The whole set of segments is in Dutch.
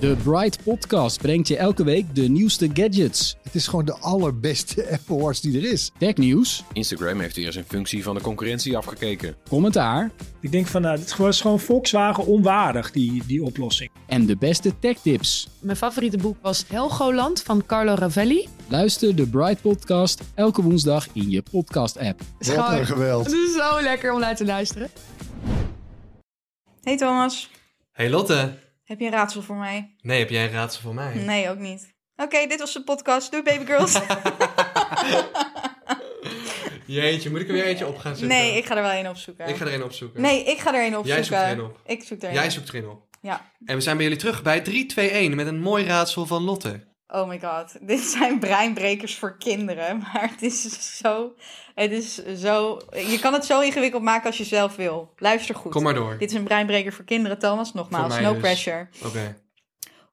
De Bright Podcast brengt je elke week de nieuwste gadgets, Het is gewoon de allerbeste Apple Watch die er is. technieuws, Instagram heeft hier zijn functie van de concurrentie afgekeken. commentaar Ik denk van, nou, dit was gewoon Volkswagen onwaardig, die, die oplossing. en de beste tech-tips. Mijn favoriete boek was Helgoland van Carlo Ravelli. Luister de Bright Podcast elke woensdag in je podcast-app. Het is Wat gewoon- een geweld. Het is zo lekker om naar te luisteren. Hey Thomas, Hey Lotte. heb je een raadsel voor mij? Nee, heb jij een raadsel voor mij? Nee, ook niet. Oké, dit was de podcast. Doei baby girls. Jeetje, moet ik er weer eentje op gaan zetten? nee, ik ga er wel een opzoeken. Ik ga er een opzoeken. Nee, ik ga er een opzoeken. zoekt er een op. Ik zoek er een Jij op. zoekt er een op. Ja. En we zijn bij jullie terug bij 3, 2, 1 met een mooi raadsel van Lotte. Oh my god, dit zijn breinbrekers voor kinderen. Maar het is zo... Het is zo... Je kan het zo ingewikkeld maken als je zelf wil. Luister goed. Kom maar door. Dit is een breinbreker voor kinderen, Thomas. Voor Nogmaals, mij no dus. pressure. Oké.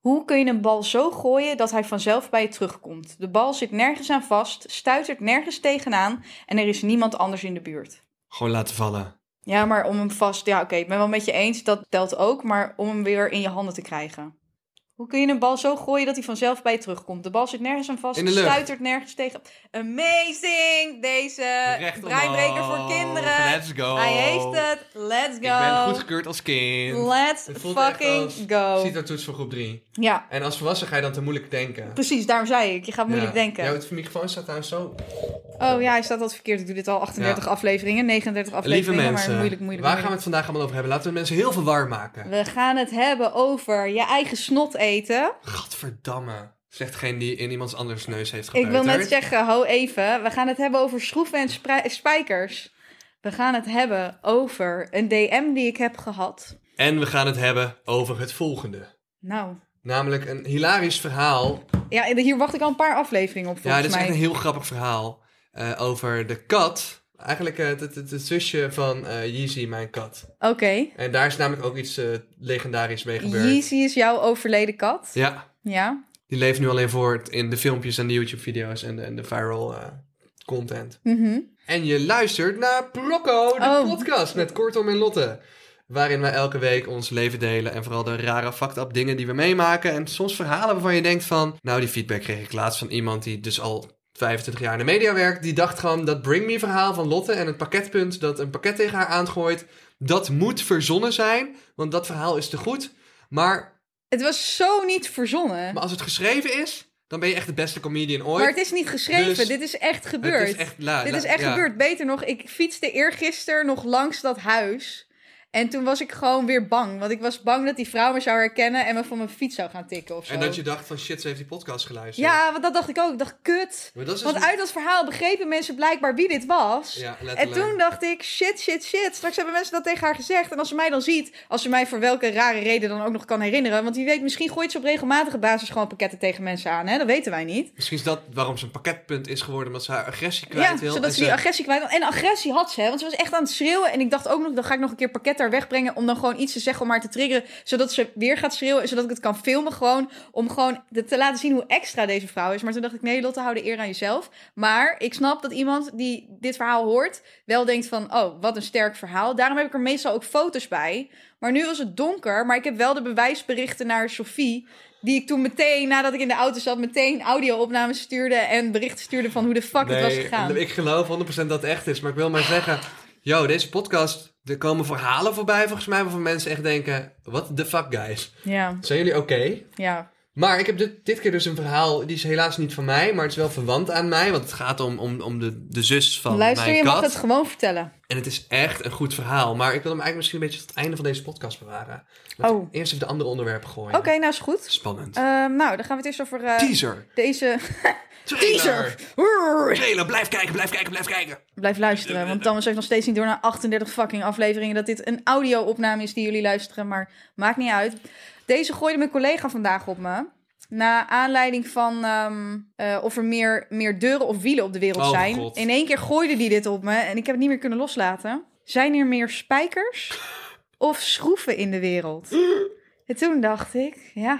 Hoe kun je een bal zo gooien dat hij vanzelf bij je terugkomt? De bal zit nergens aan vast, stuitert nergens tegenaan... en er is niemand anders in de buurt. Gewoon laten vallen. Ja, maar om hem vast. Ja, oké, ik ben wel met je eens, dat telt ook. Maar om hem weer in je handen te krijgen. Hoe kun je een bal zo gooien dat hij vanzelf bij je terugkomt? De bal zit nergens aan vast, In de lucht. stuitert nergens tegen. Amazing! Deze Recht omhoog. eh, breinbreker voor kinderen. Let's go. Hij heeft het. Let's Ik go. ben goedgekeurd als kind. Let's Het voelt echt fucking als go. CITO-toets voor groep 3. Ja, En als volwassen ga je dan te moeilijk denken. precies, daarom zei ik. Je gaat moeilijk Ja. denken. Ja, het microfoon staat daar zo. Oh ja, hij staat al verkeerd. Ik doe dit al 38 afleveringen, 39 Lieve afleveringen. mensen, maar moeilijk, moeilijk. waar moeilijk. gaan we het vandaag allemaal over hebben? Laten we de mensen heel veel warm maken. We gaan het hebben over je eigen snot eten. Gadverdamme. Zegt geen die in iemands anders neus heeft Ik gepeuterd. wil net zeggen, eh, ho even. We gaan het hebben over schroeven en sprij- spijkers. We gaan het hebben over een DM die ik heb gehad. En we gaan het hebben over het volgende. Nou, Namelijk een hilarisch verhaal. ja, en hier wacht ik al een paar afleveringen op ja, volgens dit is mij. echt een heel grappig verhaal. eh, over de kat. Eigenlijk eh, het, het, het zusje van eh Yeezy, mijn kat. Oké, En daar is namelijk ook iets eh, legendarisch mee gebeurd. Yeezy is jouw overleden kat. Ja. Ja, die leeft nu alleen voor het- in de filmpjes en de YouTube-video's en de, en de viral eh, content. Mhm. En je luistert naar Brocco, de Oh. podcast met Kortom en Lotte. Waarin wij elke week ons leven delen en vooral de rare fucked-up dingen die we meemaken. En soms verhalen waarvan je denkt van... Nou, die feedback kreeg ik laatst van iemand die dus al 25 jaar in de media werkt. Die dacht gewoon dat Bring Me verhaal van Lotte en het pakketpunt dat een pakket tegen haar aangooit... Dat moet verzonnen zijn, want dat verhaal is te goed. Maar, Het was zo niet verzonnen. maar als het geschreven is, dan ben je echt de beste comedian ooit. Maar het is niet geschreven, Dus- dit is echt Het gebeurd. echt, la- Dit la- is echt ja. gebeurd. Beter nog, ik fietste eergisteren nog langs dat huis. En toen was ik gewoon weer bang. Want ik was bang dat die vrouw me zou herkennen en me van mijn fiets zou gaan tikken of zo. En dat je dacht van shit, ze heeft die podcast geluisterd. Ja, want dat dacht ik ook. Ik dacht, kut. Maar dat is dus Want uit dat verhaal begrepen mensen blijkbaar wie dit was. Ja, en letterlijk. toen dacht ik, shit, shit, shit. Dus Straks hebben mensen dat tegen haar gezegd. En als ze mij dan ziet, als ze mij voor welke rare reden dan ook nog kan herinneren. Want wie weet, misschien gooit ze op regelmatige basis gewoon pakketten tegen mensen aan. Hè? Dat weten wij niet. Misschien is dat waarom ze een pakketpunt is geworden, omdat ze haar agressie kwijt Ja, wil. zodat en ze die agressie kwijt wil. En agressie had ze, hè, want ze was echt aan het schreeuwen. En ik dacht ook nog, dan ga ik nog een keer pakket daar wegbrengen... om dan gewoon iets te zeggen om haar te triggeren... zodat ze weer gaat schreeuwen en zodat ik het kan filmen gewoon... om gewoon de- te laten zien hoe extra deze vrouw is. Maar toen dacht ik, nee Lotte, hou de eer aan jezelf. Maar ik snap dat iemand die dit verhaal hoort... wel denkt van, oh, wat een sterk verhaal. Daarom heb ik er meestal ook foto's bij. Maar nu was het donker, maar ik heb wel de bewijsberichten naar Sophie... Die ik toen meteen, nadat ik in de auto zat, meteen audio-opnames stuurde en berichten stuurde van hoe de fuck het was gegaan. Ik geloof 100% dat het echt is, maar ik wil maar zeggen... Yo, deze podcast, er komen verhalen voorbij volgens mij... waarvan mensen echt denken, what the fuck guys? Ja, Zijn jullie oké? ja. Maar ik heb dit, dit keer dus een verhaal, die is helaas niet van mij... maar het is wel verwant aan mij, want het gaat om, om, om de, de zus van Luister, mijn je kat. mag het gewoon vertellen. En het is echt een goed verhaal, maar ik wil hem eigenlijk misschien een beetje... tot het einde van deze podcast bewaren. Laat Oh. ik Eerst even de andere onderwerpen gooien. Oké, nou is goed. Spannend. Ehm, nou, dan gaan we het eerst over eh, Teaser. deze Trailer. teaser. Hoor. Trailer, blijf kijken, blijf kijken, blijf kijken. Blijf luisteren, want Thomas heeft nog steeds niet door na 38 fucking afleveringen dat dit een audio-opname is die jullie luisteren, maar maakt niet uit. Deze gooide mijn collega vandaag op me. na aanleiding van ehm, eh, of er meer, meer deuren of wielen op de wereld Oh, zijn. God. In één keer gooide die dit op me en ik heb het niet meer kunnen loslaten. Zijn er meer spijkers of schroeven in de wereld? En toen dacht ik, ja.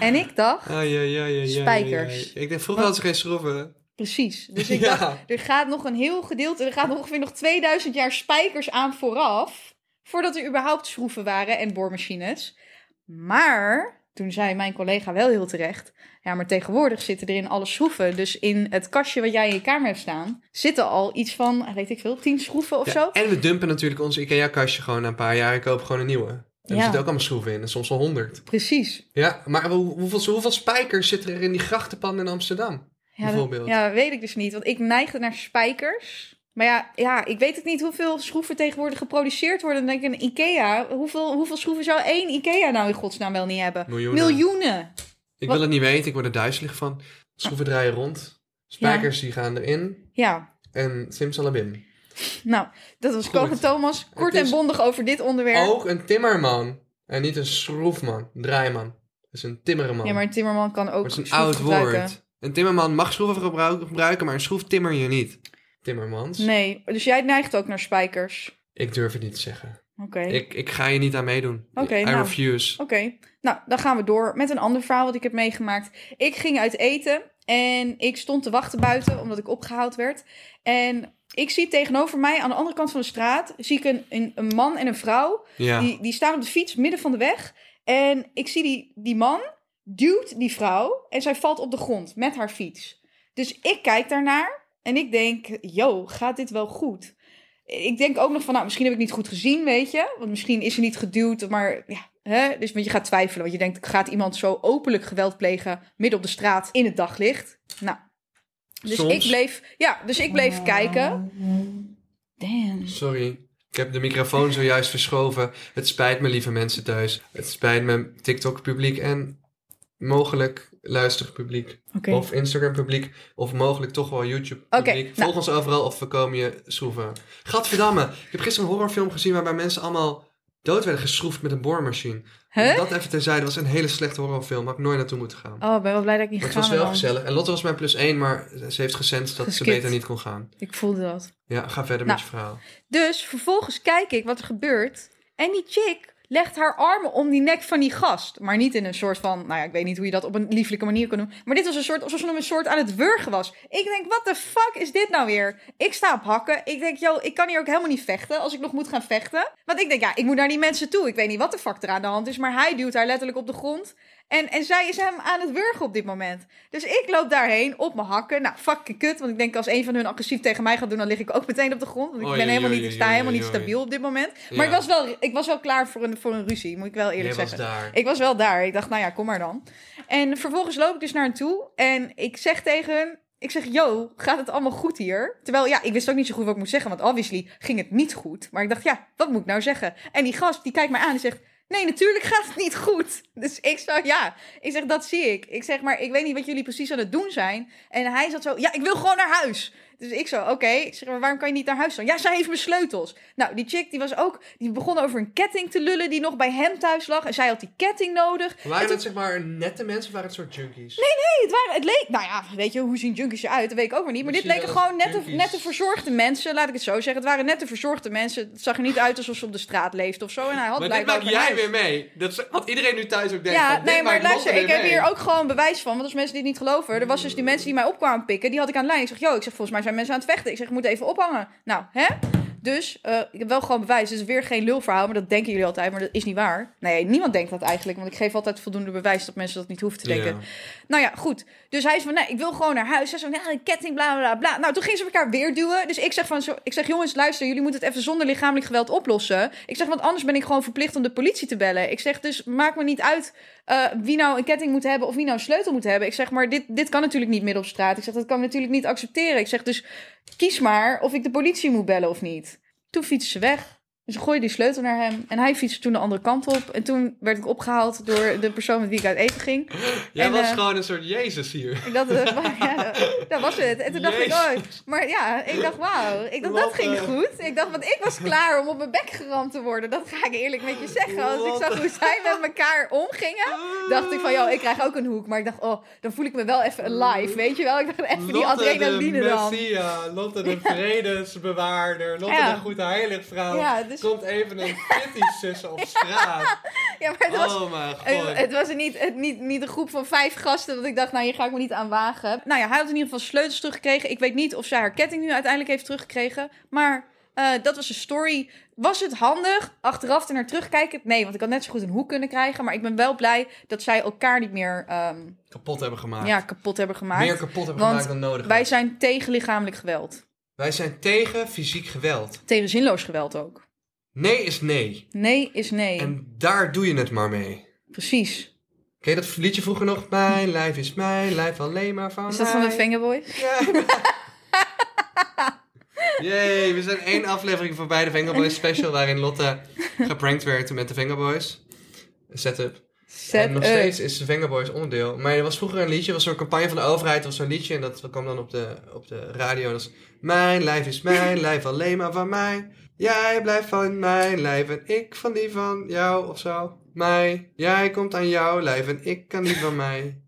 En ik dacht, Ah, ja, ja, ja, ja, ja, Spijkers. ja. Ik denk, vroeger hadden ze geen schroeven. precies. Dus ik Ja. dacht, er gaat nog een heel gedeelte, er gaat ongeveer nog 2000 jaar spijkers aan vooraf. Voordat er überhaupt schroeven waren en boormachines. Maar, toen zei mijn collega wel heel terecht. Ja, maar tegenwoordig zitten er in alle schroeven. Dus in het kastje wat jij in je kamer hebt staan, zitten al iets van, eh, weet ik veel, 10 schroeven of Ja, zo. En we dumpen natuurlijk ons IKEA-kastje gewoon na een paar jaar en kopen gewoon een nieuwe. En Ja. er zitten ook allemaal schroeven in, en soms wel honderd. Precies. Ja, maar hoe- hoeveel, hoeveel spijkers zitten er in die grachtenpan in Amsterdam? Ja, dat, Bijvoorbeeld. ja, dat weet ik dus niet. Want ik neigde naar spijkers. Maar ja, ja, ik weet het niet hoeveel schroeven tegenwoordig geproduceerd worden. Dan denk ik, een IKEA. Hoeveel, hoeveel schroeven zou één IKEA nou in godsnaam wel niet hebben? Miljoenen. Miljoenen. Ik Wat- wil het niet weten, ik word er duizelig van. Schroeven draaien rond, spijkers die gaan erin Ja, en simsalabim. nou, dat was Goed. Koken Thomas. Kort Het is- Oh. en bondig over dit onderwerp. Ook een timmerman en niet een schroefman, draaiman. Dat is een timmerman. ja, maar een timmerman kan ook Maar het is een schroeven oud gebruiken. woord. Een timmerman mag schroeven gebruik- gebruiken, maar een schroef timmer je niet. Timmermans? Nee, dus jij neigt ook naar spijkers. Ik durf het niet te zeggen. Oké. Ik, ik ga je niet aan meedoen. Oké, I nou. refuse. Oké, nou dan gaan we door met een ander verhaal wat ik heb meegemaakt. Ik ging uit eten en ik stond te wachten buiten omdat ik opgehaald werd. En ik zie tegenover mij aan de andere kant van de straat zie ik een, een, een man en een vrouw. Ja. Die, die staan op de fiets midden van de weg. En ik zie die, die man duwt die vrouw en zij valt op de grond met haar fiets. Dus ik kijk daarnaar en ik denk, yo, gaat dit wel goed? Ik denk ook nog van, nou, misschien heb ik niet goed gezien, weet je. Want misschien is ze niet geduwd, maar ja, hè? Dus want je gaat twijfelen, want je denkt, gaat iemand zo openlijk geweld plegen midden op de straat in het daglicht? Nou, dus Soms. ik bleef, ja, dus ik bleef kijken. Damn. Sorry. Ik heb de microfoon zojuist verschoven. Het spijt me, lieve mensen thuis. Het spijt me, TikTok-publiek en mogelijk luisterpubliek. Oké. Of Instagram-publiek. Of mogelijk toch wel Oké, YouTube-publiek. nou. Volg ons overal of we komen je schroeven. Gadverdamme. Ik heb gisteren een horrorfilm gezien waarbij mensen allemaal dood werden geschroefd met een boormachine. Huh? Dat even terzijde was een hele slechte horrorfilm. Had ik nooit naartoe moeten gaan. Oh, ik ben wel blij dat ik niet maar het gegaan was wel ben dan. gezellig. En Lotte was mijn plus één, maar ze heeft gecent dat Geskipt. ze beter niet kon gaan. Ik voelde dat. Ja, ga verder Nou. met je verhaal. Dus vervolgens kijk ik wat er gebeurt. En die chick legt haar armen om die nek van die gast. Maar niet in een soort van, nou ja, ik weet niet hoe je dat op een lieflijke manier kan doen. Maar dit was een soort, alsof ze hem een soort aan het wurgen was. Ik denk, wat de fuck is dit nou weer? Ik sta op hakken. Ik denk, yo, ik kan hier ook helemaal niet vechten als ik nog moet gaan vechten. Want ik denk, ja, ik moet naar die mensen toe. Ik weet niet wat de fuck er aan de hand is. Maar hij duwt haar letterlijk op de grond. En, en zij is hem aan het wurgen op dit moment. Dus ik loop daarheen op mijn hakken. Nou, fucking kut. Want ik denk als een van hun agressief tegen mij gaat doen, dan lig ik ook meteen op de grond. Want ik Oei, ben helemaal oei, niet, ik oei, sta oei, helemaal niet oei, oei. stabiel op dit moment. Ja. Maar ik was, wel, ik was wel klaar voor een, voor een ruzie, moet ik wel eerlijk Jij was zeggen. daar. Ik was wel daar. Ik dacht, nou ja, kom maar dan. En vervolgens loop ik dus naar hen toe. En ik zeg tegen hen, ik zeg, yo, gaat het allemaal goed hier? Terwijl, ja, ik wist ook niet zo goed wat ik moest zeggen. Want obviously ging het niet goed. Maar ik dacht, ja, wat moet ik nou zeggen? En die gast, die kijkt mij aan en zegt... Nee, natuurlijk gaat het niet goed. Dus ik zou, ja, ik zeg, dat zie ik. Ik zeg, maar ik weet niet wat jullie precies aan het doen zijn. En hij zat zo, ja, ik wil gewoon naar huis. Dus ik zo, oké. Ik zeg, maar waarom kan je niet naar huis dan? Ja, zij heeft mijn sleutels. Nou, die chick, die was ook, die begon over een ketting te lullen die nog bij hem thuis lag. En zij had die ketting nodig. Waren het zeg maar nette mensen of waren het soort junkies? Nee, het, waren, het leek, nou ja, weet je, hoe zien junkies eruit? Dat weet ik ook maar niet. Maar dit Misschien leken wel gewoon nette, junkies. nette verzorgde mensen, laat ik het zo zeggen. Het waren nette verzorgde mensen. Het zag er niet uit alsof ze op de straat leefden of zo. En hij had Maar dit blijkbaar maak ook een jij huis. weer mee. Dat is wat iedereen nu thuis ook denkt. Ja, van, dit nee, maar maakt luister, Lotte ik weer heb mee. hier ook gewoon bewijs van. Want als mensen dit niet geloven, er was dus die mensen die mij op kwamen pikken, die had ik aan de lijn. Ik zeg, joh, ik zeg, volgens mij zijn mensen aan het vechten. Ik zeg, ik moet even ophangen. Nou, hè? Dus eh, ik heb wel gewoon bewijs. Het is weer geen lulverhaal, maar dat denken jullie altijd, maar dat is niet waar. Nee, niemand denkt dat eigenlijk, want ik geef altijd voldoende bewijs dat mensen dat niet hoeven te denken. Ja. Nou ja, goed. Dus hij is van, nee, ik wil gewoon naar huis. Hij zei, ja, een ketting, bla, bla, bla. Nou, toen gingen ze elkaar weer duwen. Dus ik zeg van, zo, ik zeg, jongens, luister, jullie moeten het even zonder lichamelijk geweld oplossen. Ik zeg, want anders ben ik gewoon verplicht om de politie te bellen. Ik zeg, dus maakt me niet uit eh, wie nou een ketting moet hebben of wie nou een sleutel moet hebben. Ik zeg, maar dit, dit kan natuurlijk niet midden op straat. Ik zeg, dat kan ik natuurlijk niet accepteren. Ik zeg, dus kies maar of ik de politie moet bellen of niet. Toen fietsen ze weg. Dus ik gooide die sleutel naar hem. En hij fietste toen de andere kant op. En toen werd ik opgehaald door de persoon met wie ik uit eten ging. Jij En, was eh, gewoon een soort Jezus hier. Ik dacht, eh, maar ja, dat was het. En toen dacht ik, Jezus. oh, maar ja, ik dacht, wauw. Ik dacht, dat Wat, ging eh. goed. Ik dacht, want ik was klaar om op mijn bek geramd te worden. Dat ga ik eerlijk met je zeggen. Als ik Wat? zag hoe zij met elkaar omgingen, dacht ik van, joh, ik krijg ook een hoek. Maar ik dacht, oh, dan voel ik me wel even alive, weet je wel. Ik dacht, even die adrenaline de dan. Messia, Lotte de vredesbewaarder, Lotte Ja. de goede heiligvrouw. Ja, dus- Komt even een kitty sussen op straat. Ja, maar het was Oh mijn god. Het, het was een niet, het, niet, niet een groep van vijf gasten dat ik dacht, nou hier ga ik me niet aan wagen. Nou ja, hij had in ieder geval sleutels teruggekregen. Ik weet niet of zij haar ketting nu uiteindelijk heeft teruggekregen. Maar eh, dat was een story. Was het handig achteraf er naar terugkijken? Nee, want ik had net zo goed een hoek kunnen krijgen. Maar ik ben wel blij dat zij elkaar niet meer ehm, kapot hebben gemaakt. ja, kapot hebben gemaakt. Meer kapot hebben Want gemaakt dan nodig. Wij Wij... zijn tegen lichamelijk geweld. zijn tegen fysiek geweld. Tegen zinloos geweld ook. Nee is nee. Nee is nee. En daar doe je het maar mee. Precies. Ken je dat liedje vroeger nog? Mijn lijf is mijn lijf alleen maar van Is dat van de mij. Vengaboy? Ja. Jee, we zijn één aflevering voorbij de Vengaboys special waarin Lotte geprankt werd met de Vengaboys. Setup. Set en nog up. steeds is de Vengaboys onderdeel. Maar er was vroeger een liedje, er was zo'n campagne van de overheid, er was zo'n liedje en dat kwam dan op de, op de radio. En dat was, mijn lijf is mijn lijf, alleen maar van mij. Jij blijft van mijn lijf en ik van die van jou of zo. Mij, jij komt aan jouw lijf en ik kan die van mij.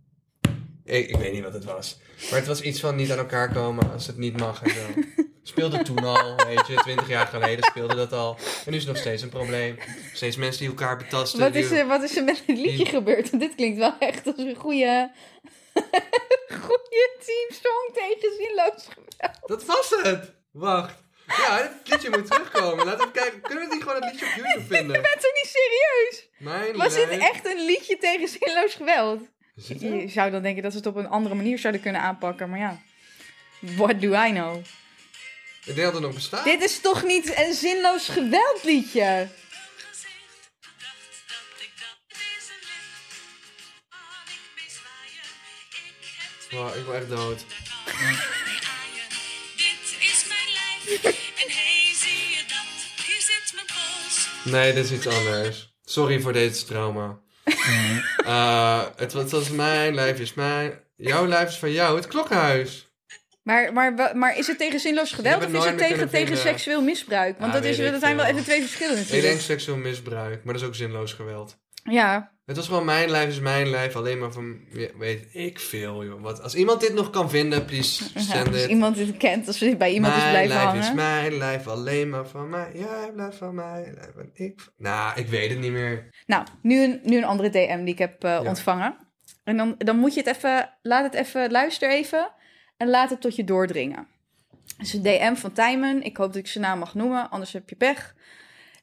Ik, ik weet niet wat het was. Maar het was iets van niet aan elkaar komen als het niet mag en zo. Speelde toen al, weet je, twintig jaar geleden speelde dat al. En nu is het nog steeds een probleem. Steeds mensen die elkaar betasten. Wat die- is, er, wat is er met het liedje Die- gebeurd? Dit klinkt wel echt als een goede, goede teamsong tegen zinloos geweld. Dat was het! Wacht. Ja, het liedje moet terugkomen. Laten we even kijken. Kunnen we niet gewoon het liedje op YouTube Je vinden? bent toch niet serieus? Mijn Was dit lijf- echt een liedje tegen zinloos geweld? Is het er? Je zou dan denken dat ze het op een andere manier zouden kunnen aanpakken, maar ja. What do I know? Ik denk dat het nog bestaat. Dit is toch niet een zinloos geweldliedje? Wow, ik word echt dood. Nee, dit is iets anders. Sorry voor dit trauma. Eh, het, was- het was mijn lijf is mijn... Jouw lijf is van jou, het klokkenhuis. Maar, maar, wa- maar is het tegen zinloos geweld heb of het is het nooit meer tegen, kunnen tegen vinden. seksueel misbruik? Want Ja, dat, is, weet ik dat zijn wel veel. even twee verschillen Ik denk natuurlijk. seksueel misbruik, maar dat is ook zinloos geweld. Ja, Het was gewoon mijn lijf is mijn lijf, alleen maar van... ja, Weet ik veel, joh. Wat, als iemand dit nog kan vinden, please Ja, send als it. iemand dit kent, als dit bij iemand is mijn blijven lijf hangen. is mijn lijf, alleen maar van mij. Jij blijft van mij. Lijf en ik. van- Nou, ik weet het niet meer. Nou, nu een, nu een andere DM die ik heb eh, Ja. ontvangen. En dan, dan moet je het even, laat het even, luister even en laat het tot je doordringen. Het is een DM van Tijmen. Ik hoop dat ik zijn naam mag noemen, anders heb je pech.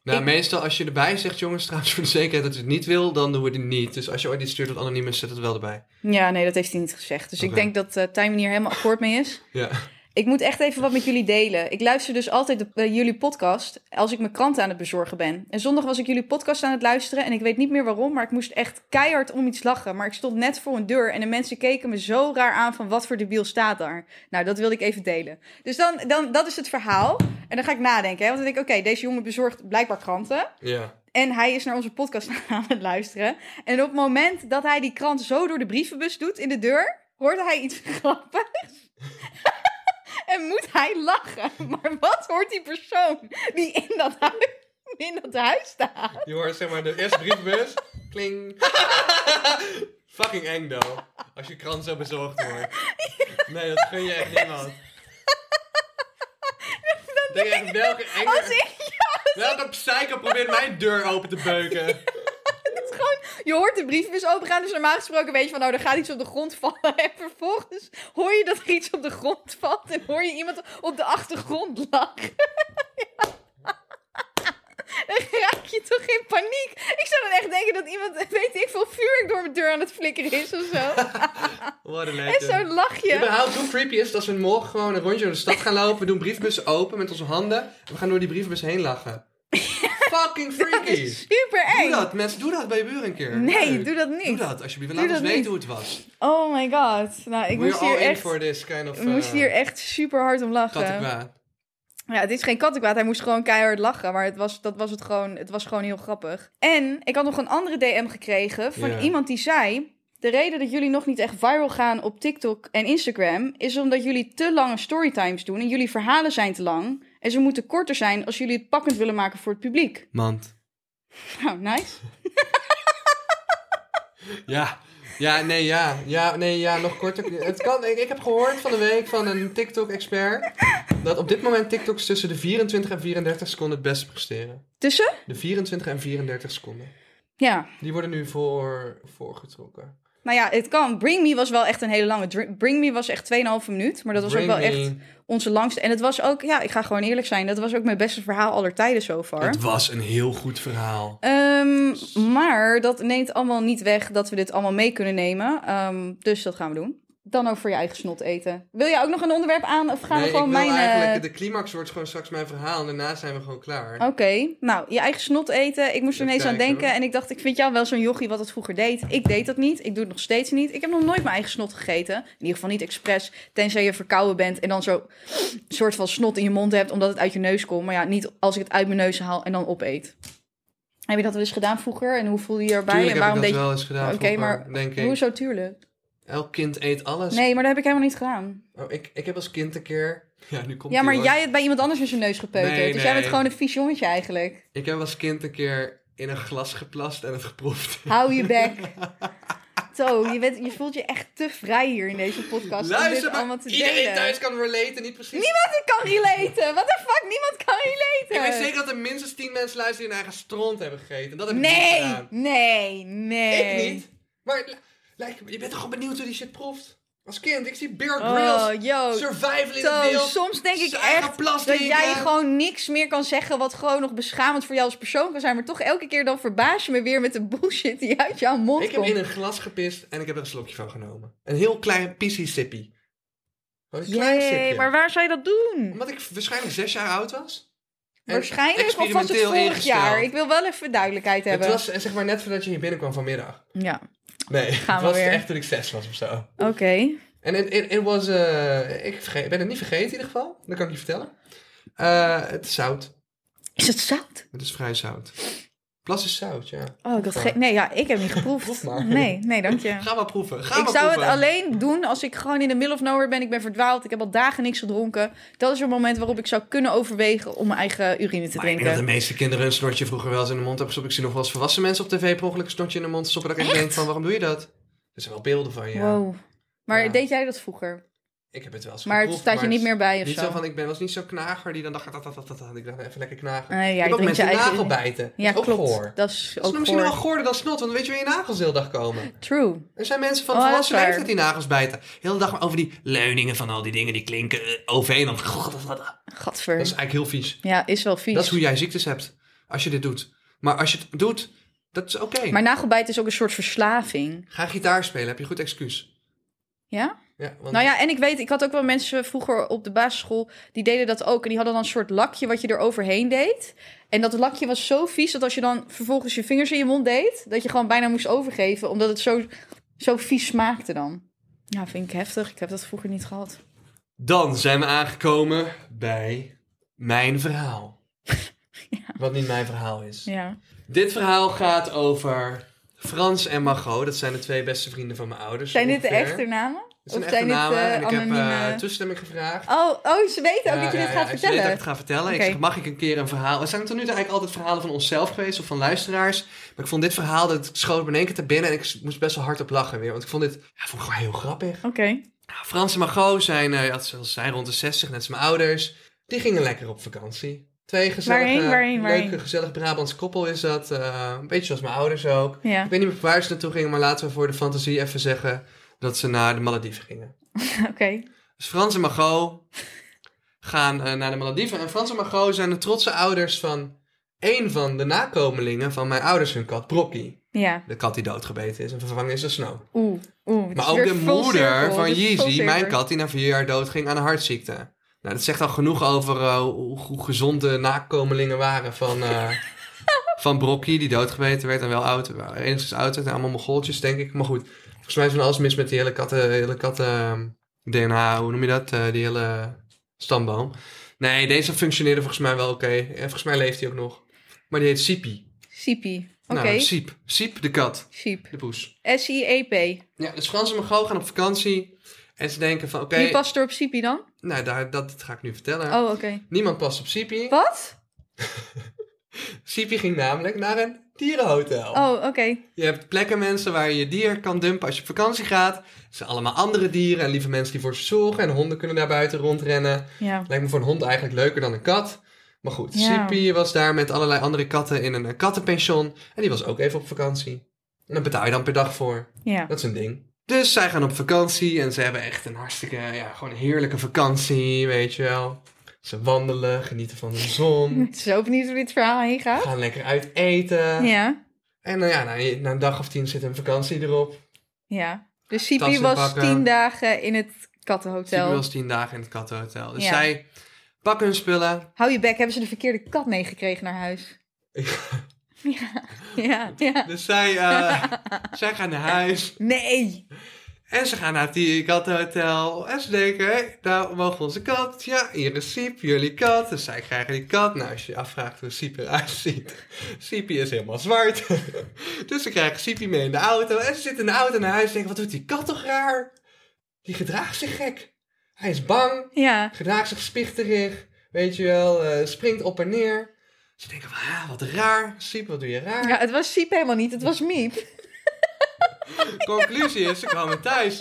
Nou, Ik- meestal als je erbij zegt, jongens, trouwens voor de zekerheid dat je het niet wil, dan doen we het niet. Dus als je ooit iets stuurt dat anoniem is, zet het wel erbij. Ja, nee, dat heeft hij niet gezegd. Dus ik Oké. denk dat eh Tijmen hier helemaal akkoord mee is. Ja. Ik moet echt even wat met jullie delen. Ik luister dus altijd de, eh, jullie podcast als ik mijn krant aan het bezorgen ben. En zondag was ik jullie podcast aan het luisteren en ik weet niet meer waarom, maar ik moest echt keihard om iets lachen. Maar ik stond net voor een deur en de mensen keken me zo raar aan van wat voor debiel staat daar. Nou, dat wilde ik even delen. Dus dan, dan dat is het verhaal. En dan ga ik nadenken, hè? want dan denk ik, oké, deze jongen bezorgt blijkbaar kranten. Ja. En hij is naar onze podcast aan het luisteren. En op het moment dat hij die krant zo door de brievenbus doet in de deur, hoorde hij iets grappigs. en moet hij lachen. Maar wat hoort die persoon die in dat huis, in dat huis staat? Je hoort zeg maar de eerste brievenbus. Kling. Fucking eng, though. Als je krant zo bezorgd wordt. Nee, dat gun je echt niemand. Denk je echt, welke Als enge... ik, ja, Welke psycho probeert mijn deur open te beuken? het is gewoon, je hoort de brievenbus opengaan, dus normaal gesproken weet je van, nou, er gaat iets op de grond vallen. En vervolgens hoor je dat er iets op de grond valt en hoor je iemand op de achtergrond lachen. Dan raak je toch in paniek. Ik zou dan echt denken dat iemand, weet ik veel, vuurwerk door mijn deur aan het flikkeren is of zo. What a En zo legend. lach je. Überhaupt, hoe creepy is het als we morgen gewoon een rondje door de stad gaan lopen. We doen briefbussen open met onze handen. En we gaan door die briefbus heen lachen. Fucking freaky. Super Doe eng. dat, mensen. Doe dat bij je buren een keer. Nee, Leuk. doe dat Doe niet. dat, alsjeblieft. En Doe Laat ons dat weten niet. hoe het was. Oh my god. Nou, ik We're moest hier all in echt, for this kind of... ik moest eh, hier echt super hard om lachen. kattenkwaad. Ja, het is geen kattenkwaad. Hij moest gewoon keihard lachen. Maar het was, dat was het, gewoon, het was gewoon heel grappig. En ik had nog een andere DM gekregen van Ja. iemand die zei... De reden dat jullie nog niet echt viral gaan op TikTok en Instagram... is omdat jullie te lange storytimes doen. En jullie verhalen zijn te lang. En ze moeten korter zijn als jullie het pakkend willen maken voor het publiek. Mand. Nou, nice. Ja. Ja, nee, ja. Ja, nee, ja, nog korter. Het kan, ik, ik heb gehoord van de week van een TikTok-expert... dat op dit moment TikToks tussen de 24 en 34 seconden het beste presteren. Tussen? De 24 en 34 seconden. Ja. Die worden nu voor, voorgetrokken. Nou ja, het kan. Bring Me was wel echt een hele lange... Dr- Bring Me was echt 2,5 minuut. Maar dat was Bring ook wel Me. echt onze langste. En het was ook... Ja, ik ga gewoon eerlijk zijn. Dat was ook mijn beste verhaal aller tijden so far. Het was een heel goed verhaal. Ehm, maar dat neemt allemaal niet weg dat we dit allemaal mee kunnen nemen. Ehm, dus dat gaan we doen. Dan over je eigen snot eten. Wil jij ook nog een onderwerp aan of gaan nee, we gewoon ik wil mijn... eh, eigenlijk, de climax wordt gewoon straks mijn verhaal en daarna zijn we gewoon klaar. Oké, nou, je eigen snot eten. Ik moest er Even ineens aan kijken, denken hoor. en ik dacht, ik vind jou wel zo'n jochie wat het vroeger deed. Ik deed dat niet, ik doe het nog steeds niet. Ik heb nog nooit mijn eigen snot gegeten. In ieder geval niet expres, tenzij je verkouden bent en dan zo een soort van snot in je mond hebt omdat het uit je neus komt. Maar ja, niet als ik het uit mijn neus haal en dan opeet. Heb je dat wel eens gedaan vroeger en hoe voelde je je erbij? Tuurlijk en heb waarom ik dat deed je wel eens gedaan Oké, vroeger, maar denk ik. Doe zo tuurlijk. Elk kind eet alles. Nee, maar dat heb ik helemaal niet gedaan. Oh, ik, ik heb als kind een keer... Ja, nu komt Ja, ie, maar hoor. jij hebt bij iemand anders in zijn neus gepeuterd. Nee, dus jij bent nee. gewoon een vies jongetje eigenlijk. Ik heb als kind een keer in een glas geplast en het geproefd. Hou je bek. Zo, je, bent, je voelt je echt te vrij hier in deze podcast om Luister dit allemaal maar, te iedereen delen. thuis kan relaten, niet precies. Niemand kan relaten. What the fuck? Niemand kan relaten. Ik weet zeker dat er minstens 10 mensen luisteren die hun eigen stront hebben gegeten. Dat heb ik niet Nee, gedaan. nee, nee. Ik niet. Maar li- lijkt me- je bent toch gewoon benieuwd hoe die shit proeft? Als kind, ik zie Bear Grylls, Oh, yo. survival in Zo, het wild. soms denk ik zijn eigen echt plas dat jij drinken. gewoon niks meer kan zeggen wat gewoon nog beschamend voor jou als persoon kan zijn. Maar toch elke keer dan verbaas je me weer met de bullshit die uit jouw mond Ik heb komt. in een glas gepist en ik heb er een slokje van genomen. Een heel klein pissie sippie. Gewoon een klein Jee, sipje. maar waar zou je dat doen? Omdat ik waarschijnlijk zes jaar oud was. En Waarschijnlijk of was het experimenteel vorig ingesteld. jaar? Ik wil wel even duidelijkheid Het hebben. was eh, zeg maar net voordat je hier binnenkwam vanmiddag. Ja, Nee, Gaan het we was weer. echt toen ik zes was of zo. oké. En het it, it was... eh, ik verge- ben het niet vergeten in ieder geval. Dat kan ik je vertellen. Eh, het is zout. Is het zout? Het is vrij zout. Plas is zout, ja. Oh, ik had geen... Nee, ja, ik heb niet geproefd. Proef maar. Nee, nee, dank je. Ga maar proeven. Ga Ik maar zou het proeven. alleen doen als ik gewoon in de middle of nowhere ben. Ik ben verdwaald. Ik heb al dagen niks gedronken. Dat is een moment waarop ik zou kunnen overwegen om mijn eigen urine te Maar ik denk dat drinken. de meeste kinderen een snortje vroeger wel eens in de mond hebben gestopt. Ik zie nog wel eens volwassen mensen op tv per ongeluk een snortje in de mond stoppen. Dat ik echt denk van, waarom doe je dat? Er zijn wel beelden van, ja. Wow. Maar Ja. deed jij dat vroeger? Ik heb het wel eens Maar het geproefd, staat je maar niet meer bij of Niet zo zo? van, ik ben, was niet zo'n knager die dan dacht, dat, dat, dat, dat, dat. ik dacht even lekker knagen. Nee, ja, ik je heb ook drinkt je mensen eigen- nagel bijten. Ja, dat is ook klopt. goor. Dat is Dat is nou ook misschien wel voor. goorder dan snot, want dan weet je waar je nagels de hele dag komen. True. Er zijn mensen van Oh, dat is volwassen waar. leeftijd die nagels bijten. De hele dag maar over die leuningen van al die dingen die klinken. eh, OV en dan... Dat Gadver. is eigenlijk heel vies. Ja, is wel vies. Dat is hoe jij ziektes hebt als je dit doet. Maar als je het doet, dat is oké. Maar nagelbijt is ook een soort verslaving. Ga gitaar spelen, heb je een goed excuus. Ja? Ja, want Nou ja, en ik weet, ik had ook wel mensen vroeger op de basisschool, die deden dat ook. En die hadden dan een soort lakje wat je er overheen deed. En dat lakje was zo vies dat als je dan vervolgens je vingers in je mond deed, dat je gewoon bijna moest overgeven, omdat het zo, zo vies smaakte dan. Ja, vind ik heftig. Ik heb dat vroeger niet gehad. Dan zijn we aangekomen bij mijn verhaal. Wat niet mijn verhaal is. Ja. Dit verhaal gaat over Frans en Margot. Dat zijn de twee beste vrienden van mijn ouders. Zijn dit de ongeveer. echte namen? Dit zijn of echte zijn dit, namen. eh, en ik heb eh, anonieme- toestemming gevraagd. Oh, oh, ze weten ook Ja, dat je ja, dit ja, gaat ik weet dat vertellen. ik het ga vertellen. Ik Oké. zeg, mag ik een keer een verhaal? We zijn tot nu toe eigenlijk altijd verhalen van onszelf geweest of van luisteraars. Maar ik vond dit verhaal, dat schoot me in één keer te binnen en ik moest best wel hard op lachen weer. Want ik vond dit, ja, vond ik gewoon heel grappig. Oké. Nou, Frans en Margot zijn, eh, ja, ze zijn rond de 60, net als mijn ouders. Die gingen lekker op vakantie. Twee gezellige, Waarheen, waarheen, waarheen? leuke, gezellig Brabants koppel is dat. eh, een beetje zoals mijn ouders ook. Ja, Ik weet niet meer waar ze naartoe gingen, maar laten we voor de fantasie even zeggen dat ze naar de Malediven gingen. oké. Dus Frans en Margot gaan eh, naar de Malediven. En Frans en Margot zijn de trotse ouders van één van de nakomelingen van mijn ouders, hun kat Brokkie. Ja. De kat die doodgebeten is en vervangen is door Snow. Oeh, oeh. het is Maar ook weer de full moeder circle. van Dit is full Yeezy, mijn circle. kat, die na vier jaar doodging aan een hartziekte. Nou, dat zegt al genoeg over eh, hoe, hoe gezond de nakomelingen waren van, eh van Brokkie, die doodgebeten werd en wel oud, enigszins oud werd. En allemaal mogoltjes, denk ik. Maar goed, volgens mij is van alles mis met die hele katten, hele katten ehm, DNA, hoe noem je dat? Eh, die hele eh, stamboom. Nee, deze functioneerde volgens mij wel oké. En volgens mij leeft hij ook nog. Maar die heet Siepie. Siepie. Oké, Nou, Siep. Siep de kat. Siep. De poes. S-I-E-P. Ja, dus Frans en Mago gaan op vakantie. En ze denken van, oké, Wie past er op Siepie dan? nou, daar, dat ga ik nu vertellen. Oh, oké. Niemand past op Siepie. Wat? Siepie ging namelijk naar een dierenhotel. Oh, oké. Je hebt plekken, mensen, waar je je dier kan dumpen als je op vakantie gaat. Het zijn allemaal andere dieren en lieve mensen die voor ze zorgen. En honden kunnen daar buiten rondrennen. Ja. Lijkt me voor een hond eigenlijk leuker dan een kat. Maar goed, Ja. Sippy was daar met allerlei andere katten in een eh, kattenpension. En die was ook even op vakantie. En daar betaal je dan per dag voor. Ja. Dat is een ding. Dus zij gaan op vakantie en ze hebben echt een hartstikke, ja, gewoon een heerlijke vakantie, weet je wel. Ze wandelen, genieten van de zon, Ik ben zo benieuwd hoe dit verhaal heen gaat. gaan lekker uit eten. Ja. En nou ja, na, na een dag of tien zit een vakantie erop. Ja. Dus Siepie Tassen was pakken. tien dagen in het Sibyl kattenhotel. was tien dagen in het kattenhotel. Dus Ja. zij pakken hun spullen. Hou je bek, hebben ze de verkeerde kat meegekregen naar huis? Ja. Ja. ja. Dus zij, eh, zij gaan naar huis. Nee. En ze gaan naar het kattenhotel. En ze denken, hé, nou mogen we onze kat. Ja, hier is Siep, jullie kat. Dus zij krijgen die kat. Nou, als je je afvraagt hoe Siep eruit ziet. Siepie is helemaal zwart. dus ze krijgen Siepie mee in de auto. En ze zitten in de auto naar huis en denken, wat doet die kat toch raar? Die gedraagt zich gek. Hij is bang. Ja. gedraagt zich spichterig, weet je wel, eh, springt op en neer. Ze denken van, ah, wat raar, Siep, wat doe je raar. Ja, het was Siep helemaal niet, het was Miep. Conclusie is, ze kwamen thuis.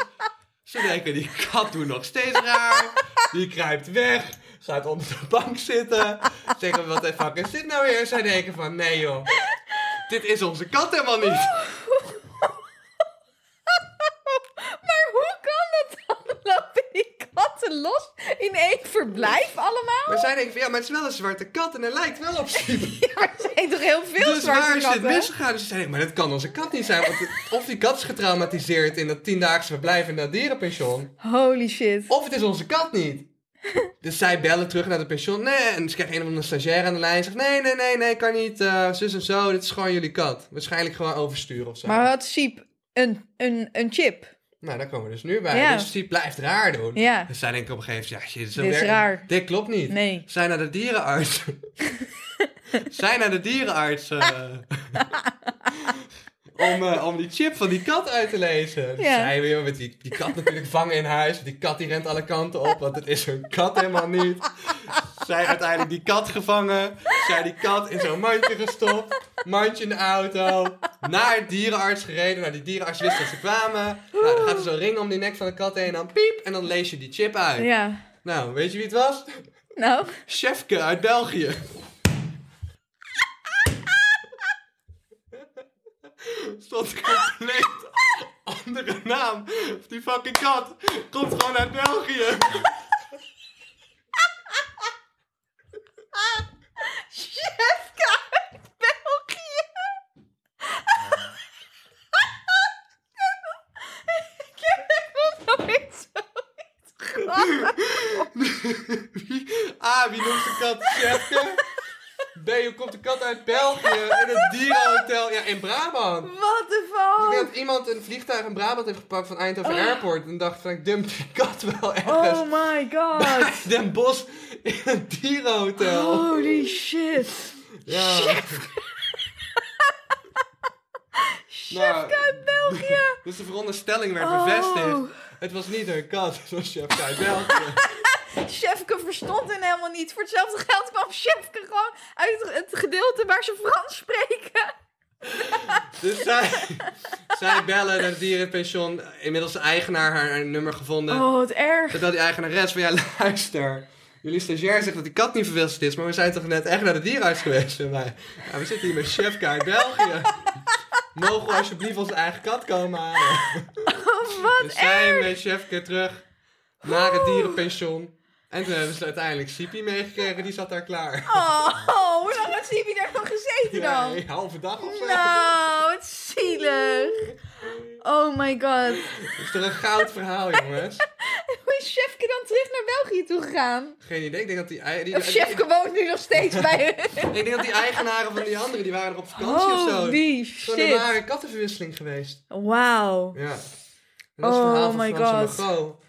Ze denken, die kat doet nog steeds raar. Die kruipt weg, gaat onder de bank zitten. Ze denken, wat de fuck is dit nou weer? Zij denken van, nee joh, dit is onze kat helemaal niet. Maar hoe kan dat dan? Lopen die katten los in één verblijf allemaal? Maar zij denken van, ja, maar het is wel een zwarte kat en hij lijkt wel op Siep. Ja, maar er zijn toch heel veel dus zwarte waar is dit katten? misgegaan? Dus ze zeiden, maar dat kan onze kat niet zijn. Want het- of die kat is getraumatiseerd in dat tiendaagse verblijf in dat dierenpension. Holy shit. Of het is onze kat niet. Dus zij bellen terug naar het pension. Nee, en ze krijgen een of andere stagiair aan de lijn. Zegt, nee, nee, nee, nee, kan niet. eh, zus en zo, dit is gewoon jullie kat. Waarschijnlijk gewoon oversturen of zo. Maar had Siep een, een, een chip? Nou, daar komen we dus nu bij. Ja. Dus die blijft raar doen. Ja. Dus zij denken op een gegeven moment, ja, shit, zo Dit is werkt- raar. Dit klopt niet. Nee. Zij naar de dierenarts. Zij naar de dierenarts. eh, om, eh, om die chip van die kat uit te lezen. Dus Ja. Zij weer met die, die kat natuurlijk vangen in huis. Die kat die rent alle kanten op, want het is hun kat helemaal niet. Zij uiteindelijk die kat gevangen. Zij die kat in zo'n mandje gestopt. Mandje in de auto. Naar het dierenarts gereden. Nou, die dierenarts wist dat ze kwamen. Nou, dan gaat er zo'n ring om die nek van de kat heen. En dan piep. En dan lees je die chip uit. Ja. Nou, weet je wie het was? Nou, Chefke uit België. Stond een compleet andere naam. Die fucking kat komt gewoon uit België. Jefka uit België. Ik heb het nog nooit zoiets gehad. A, Ah, wie noemt de kat Chefke? B, hoe komt de kat uit België? In het dierenhotel. Ja, in Brabant. What the Ik denk fuck? dat iemand een vliegtuig in Brabant heeft gepakt van Eindhoven Airport. En dacht van, ik dump die kat wel ergens. Oh my god. Den Bos in het dierenhotel. Holy Oh, shit. Ja. Nou, Uit België. dus de veronderstelling werd Oh. bevestigd. Het was niet hun kat, het was Chef Kai België. Chefke verstond hen helemaal niet. Voor hetzelfde geld kwam Chefke gewoon uit het gedeelte waar ze Frans spreken. Dus zij, zij bellen naar het dierenpension. Inmiddels de eigenaar haar, haar nummer gevonden. Oh, wat erg. Toen belde die eigenares van, ja luister. Jullie stagiair zegt dat die kat niet verwilderd is. Maar we zijn toch net echt naar de dierenarts geweest. En wij, ja, we zitten hier met Chef Kai België. Mogen we alsjeblieft onze eigen kat komen halen? Oh, wat Dus zij met Chefke terug naar het dierenpension. En toen hebben ze uiteindelijk Sipi meegekregen, die zat daar klaar. Oh, hoe lang had Sibi daar nog gezeten Ja, dan? een halve dag of zo. Nou, wat zielig. Oh my god. Dat is toch een goud verhaal, jongens? Hoe is Chefke dan terug naar België toe gegaan? Geen idee. Ik denk dat die, ei- die, Of Chefke woont nu nog steeds bij hun. ik denk dat die eigenaren van die anderen, die waren er op vakantie of zo. Holy Gewoon een shit. ware kattenverwisseling geweest. Wauw. Ja. En dat is het Oh verhaal van my Frans en God. Margot.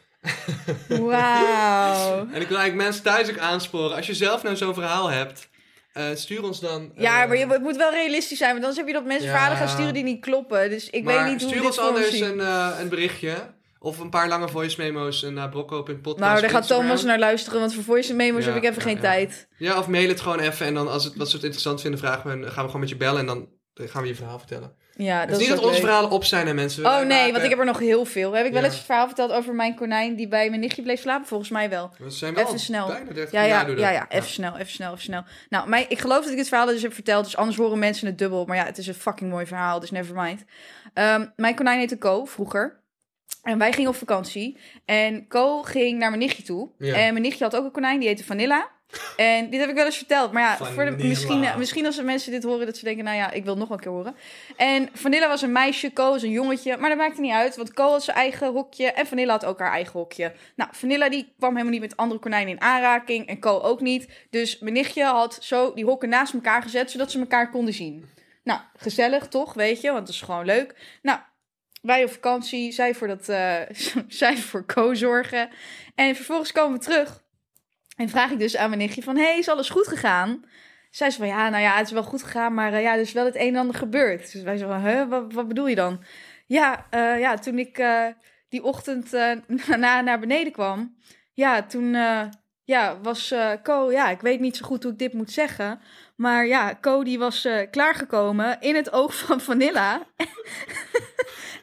Wauw. En ik wil eigenlijk mensen thuis ook aansporen. Als je zelf nou zo'n verhaal hebt, eh, stuur ons dan. eh, Ja, maar je, het moet wel realistisch zijn, want anders heb je dat mensen Ja. verhalen gaan sturen die niet kloppen. Dus ik maar weet niet hoe stuur dit ons voor ons anders ziet. een, eh, een berichtje. Of een paar lange voice memo's eh, naar brocco.podcast. Nou, daar op gaat Instagram. Thomas naar luisteren, want voor voice memo's Ja, heb ik even ja, geen ja. tijd. Ja, of mail het gewoon even. En dan als, het, als we het interessant vinden, vragen we, gaan we gewoon met je bellen. En dan eh, gaan we je verhaal vertellen. Ja, dat het is niet ook dat onze leuk. verhalen op zijn aan mensen. Oh nee, want ik heb er nog heel veel. Heb ik wel Ja. eens het verhaal verteld over mijn konijn die bij mijn nichtje bleef slapen? Volgens mij wel. We zijn wel Even snel. Oh, Bijna 30 Ja, ja, doe dat. ja, ja, even snel, even snel, even snel. Nou, mijn, ik geloof dat ik het verhaal dus heb verteld, dus anders horen mensen het dubbel. Maar ja, het is een fucking mooi verhaal, dus never mind. Ehm, mijn konijn heette Co, vroeger. En wij gingen op vakantie. En Co ging naar mijn nichtje toe. Ja. En mijn nichtje had ook een konijn, die heette Vanilla. En dit heb ik wel eens verteld. Maar ja, voor Vanilla. de, misschien, eh, misschien als de mensen dit horen, dat ze denken, nou ja, ik wil nog wel een keer horen. En Vanilla was een meisje, Co was een jongetje. Maar dat maakte niet uit, want Co had zijn eigen hokje en Vanilla had ook haar eigen hokje. Nou, Vanilla die kwam helemaal niet met andere konijnen in aanraking en Co ook niet. Dus mijn nichtje had zo die hokken naast elkaar gezet, zodat ze elkaar konden zien. Nou, gezellig toch, weet je, want het is gewoon leuk. Nou, wij op vakantie, zij voor, dat, eh, zij voor Co zorgen. En vervolgens komen we terug en vraag ik dus aan mijn nichtje van, hey, is alles goed gegaan? Zij zei van, ja, nou ja, het is wel goed gegaan, maar eh, ja, er is wel het een en ander gebeurd. Dus wij zeiden van, huh, wat, wat bedoel je dan? Ja, eh, ja toen ik eh, die ochtend eh, na, naar beneden kwam, ja, toen eh, ja, was eh, Co, ja, ik weet niet zo goed hoe ik dit moet zeggen, maar ja, Co die was eh, klaargekomen in het oog van Vanilla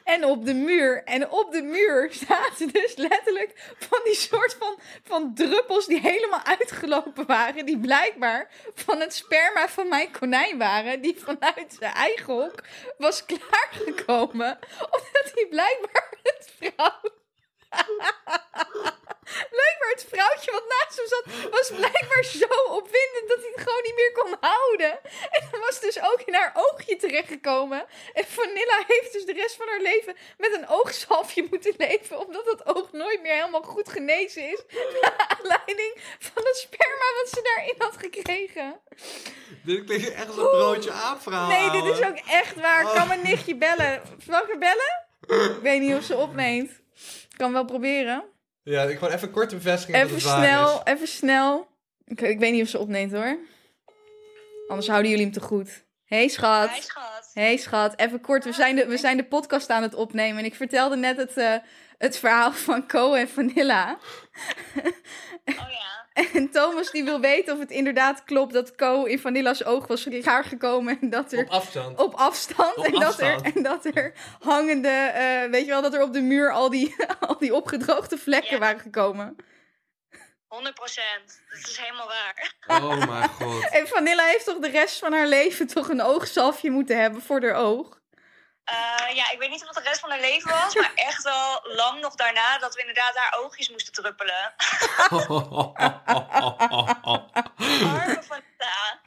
en op de muur. En op de muur zaten dus letterlijk van die soort van, van druppels die helemaal uitgelopen waren, die blijkbaar van het sperma van mijn konijn waren, die vanuit zijn eigen hok was klaargekomen, omdat hij blijkbaar het vrouw... Blijkbaar het vrouwtje wat naast hem zat, was blijkbaar zo opwindend dat hij het gewoon niet meer kon houden. En dat was dus ook in haar oogje terechtgekomen. En Vanilla heeft dus de rest van haar leven met een oogzalfje moeten leven, omdat dat oog nooit meer helemaal goed genezen is. Naar aanleiding van het sperma wat ze daarin had gekregen. Dit klinkt echt als een broodje aapverhaal. Nee, dit is ouwe. ook echt waar. Ik kan mijn nichtje bellen. Zal ik haar bellen? Ik weet niet of ze opneemt. Ik kan wel proberen. Ja, ik gewoon even kort bevestigen dat Even het waar dus. is. snel, even snel. Ik, ik weet niet of ze opneemt hoor. Anders houden jullie hem te goed. Hey schat. Hey schat. Even kort, we zijn, de, we zijn de podcast aan het opnemen. En ik vertelde net het, eh, het verhaal van Co en Vanilla. Oh, En Thomas die wil weten of het inderdaad klopt dat Co in Vanilla's oog was gekomen. En dat er Op afstand. op afstand. Op en, dat Er, afstand. en dat er hangende, eh, weet je wel, dat er op de muur al die, al die opgedroogde vlekken Ja. waren gekomen. 100 procent. Dat is helemaal waar. Oh mijn god. En Vanilla heeft toch de rest van haar leven toch een oogzalfje moeten hebben voor haar oog. Eh, ja, ik weet niet of het de rest van haar leven was, maar echt wel lang nog daarna dat we inderdaad haar oogjes moesten druppelen. Arme van ta.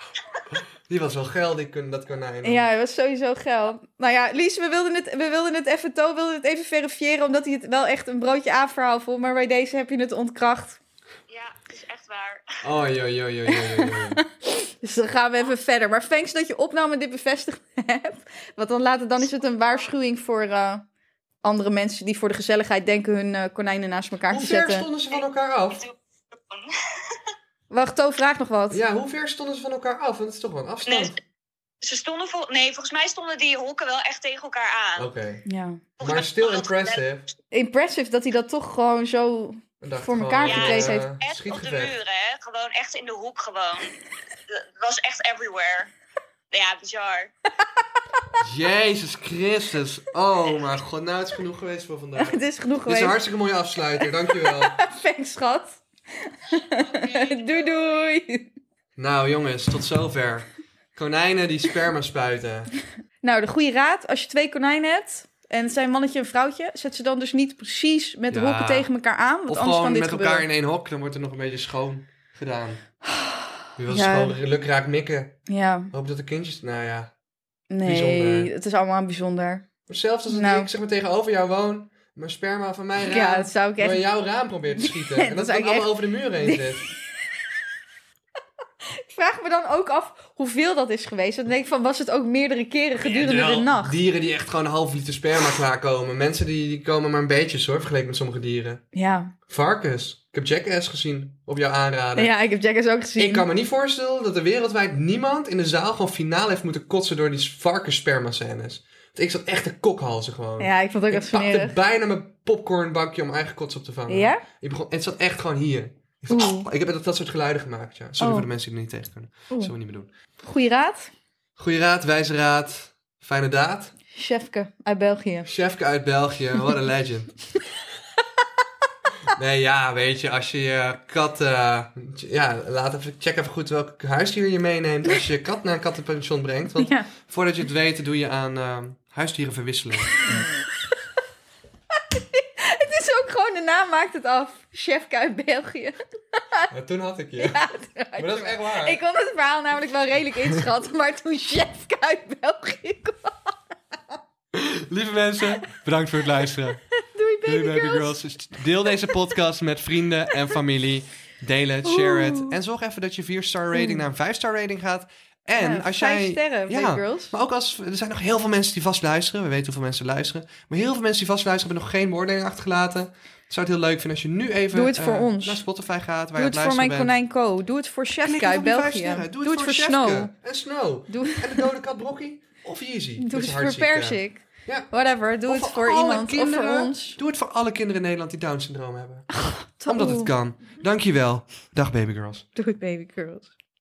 Die was wel geil, die kon, dat konijn. Ja, dat was sowieso geil. Nou ja, Lies, we wilden het, we wilden het even, To wilde het even verifiëren, omdat hij het wel echt een broodje A-verhaal vond. Maar bij deze heb je het ontkracht. Ja, het is echt waar. Oh, joh, joh, joh, joh, joh, joh. Dus dan gaan we even verder. Maar thanks dat je opname dit bevestigd hebt. Want dan later dan is het een waarschuwing voor eh, andere mensen die voor de gezelligheid denken hun eh, konijnen naast elkaar Hoe te ver zetten. stonden ze van elkaar af? Wacht, To vraagt nog wat. Ja, hoe ver stonden ze van elkaar af? Want het is toch wel een afstand. Nee, ze stonden vol nee, volgens mij stonden die hokken wel echt tegen elkaar aan. Oké. Ja. Maar still impressive. Impressive dat hij dat toch gewoon zo Ik dacht Voor gewoon, elkaar eh, gekregen heeft. Echt op de Schietgevecht. muren, hè? Gewoon echt in de hoek, gewoon. Het was echt everywhere. Ja, bizar. Jezus Christus. Oh mijn god. Nou, het is genoeg geweest voor vandaag. Het is genoeg Dit is geweest. een hartstikke mooie afsluiter. Dankjewel. Thanks, schat. doei, doei. nou jongens, tot zover. Konijnen die sperma spuiten. Nou, de goede raad, als je twee konijnen hebt en het zijn een mannetje en een vrouwtje, zet ze dan dus niet precies met de Ja. hokken tegen elkaar aan, want Of anders gewoon kan dit met gebeuren. elkaar in één hok. Dan wordt er nog een beetje schoon gedaan. Nu wil ze Ja. gewoon lukraak mikken. Ja, Hoop dat de kindjes... Nou ja. nee, Bijzonder. het is allemaal bijzonder. Maar zelfs als het- Nou. ik zeg maar tegenover jou woon, maar sperma van mijn raam Ja, dat zou ik door echt... jouw raam probeert te schieten. Ja, en dat dat zou het ik allemaal echt- over de muur heen zit. Ik vraag vraag me dan ook af hoeveel dat is geweest. Dan denk ik van, was het ook meerdere keren gedurende Ja, de wel nacht? Dieren die echt gewoon een half liter sperma klaarkomen. Mensen die, die komen maar een beetje hoor, vergeleken met sommige dieren. Ja. Varkens. Ik heb Jackass gezien, op jouw aanraden. ja, ik heb Jackass ook gezien. Ik kan me niet voorstellen dat er wereldwijd niemand in de zaal gewoon finaal heeft moeten kotsen door die varkenssperma-scènes. Want ik zat echt te kokhalzen gewoon. Ja, ik vond het ook echt ik pakte smerig. bijna mijn popcornbakje om eigen kots op te vangen. Ja? Ik begon, het zat echt gewoon hier. Ik, "Oh, Oeh. ik heb dat, dat soort geluiden gemaakt, ja. Sorry Oh. voor de mensen die er niet tegen kunnen. Dat Oeh. zullen we niet meer doen. Goeie raad. Goeie raad, wijze raad, fijne daad. Chefke uit België. Chefke uit België, what a legend. Nee, ja, weet je, als je je kat... eh, ja, laat even, check even goed welk huisdier je meeneemt als je je kat naar een kattenpension brengt. Want Ja. voordat je het weet, doe je aan eh, huisdieren verwisselen. Het is ook gewoon, de naam maakt het af. Chefke uit België. Ja, toen had ik je. maar dat is echt waar. Ik kon het verhaal namelijk wel redelijk inschatten, maar toen Chefke uit België kwam. Lieve mensen, bedankt voor het luisteren. Doei Doei, baby, girls. Deel deze podcast met vrienden en familie. Deel het, share het. En zorg even dat je 4-star rating naar een 5-star rating gaat. En Hmm. Ja, als vijf jij... sterren, ja, baby girls. Maar ook als... Er zijn nog heel veel mensen die vast luisteren. We weten hoeveel mensen luisteren. Maar heel veel mensen die vast luisteren hebben nog geen beoordeling achtergelaten. Ik zou het heel leuk vinden als je nu even... Doe het voor eh, ons. Naar Spotify gaat, waar Doe het je aan voor luisteren mijn bent. konijn Co. Doe het voor Chefke Klik even uit op die vijf België. sterren. Doe het voor Chefke. Snow. En Snow. Doe, En de dode kat Brokkie. Of Yeezy. doe Dat is het voor hartziek, ja. Persik. Ja. Whatever, doe Of het voor alle iemand of kinderen. voor ons. Doe het voor alle kinderen in Nederland die Down syndroom hebben. Omdat het kan. Dankjewel. Dag babygirls. Doe het baby girls.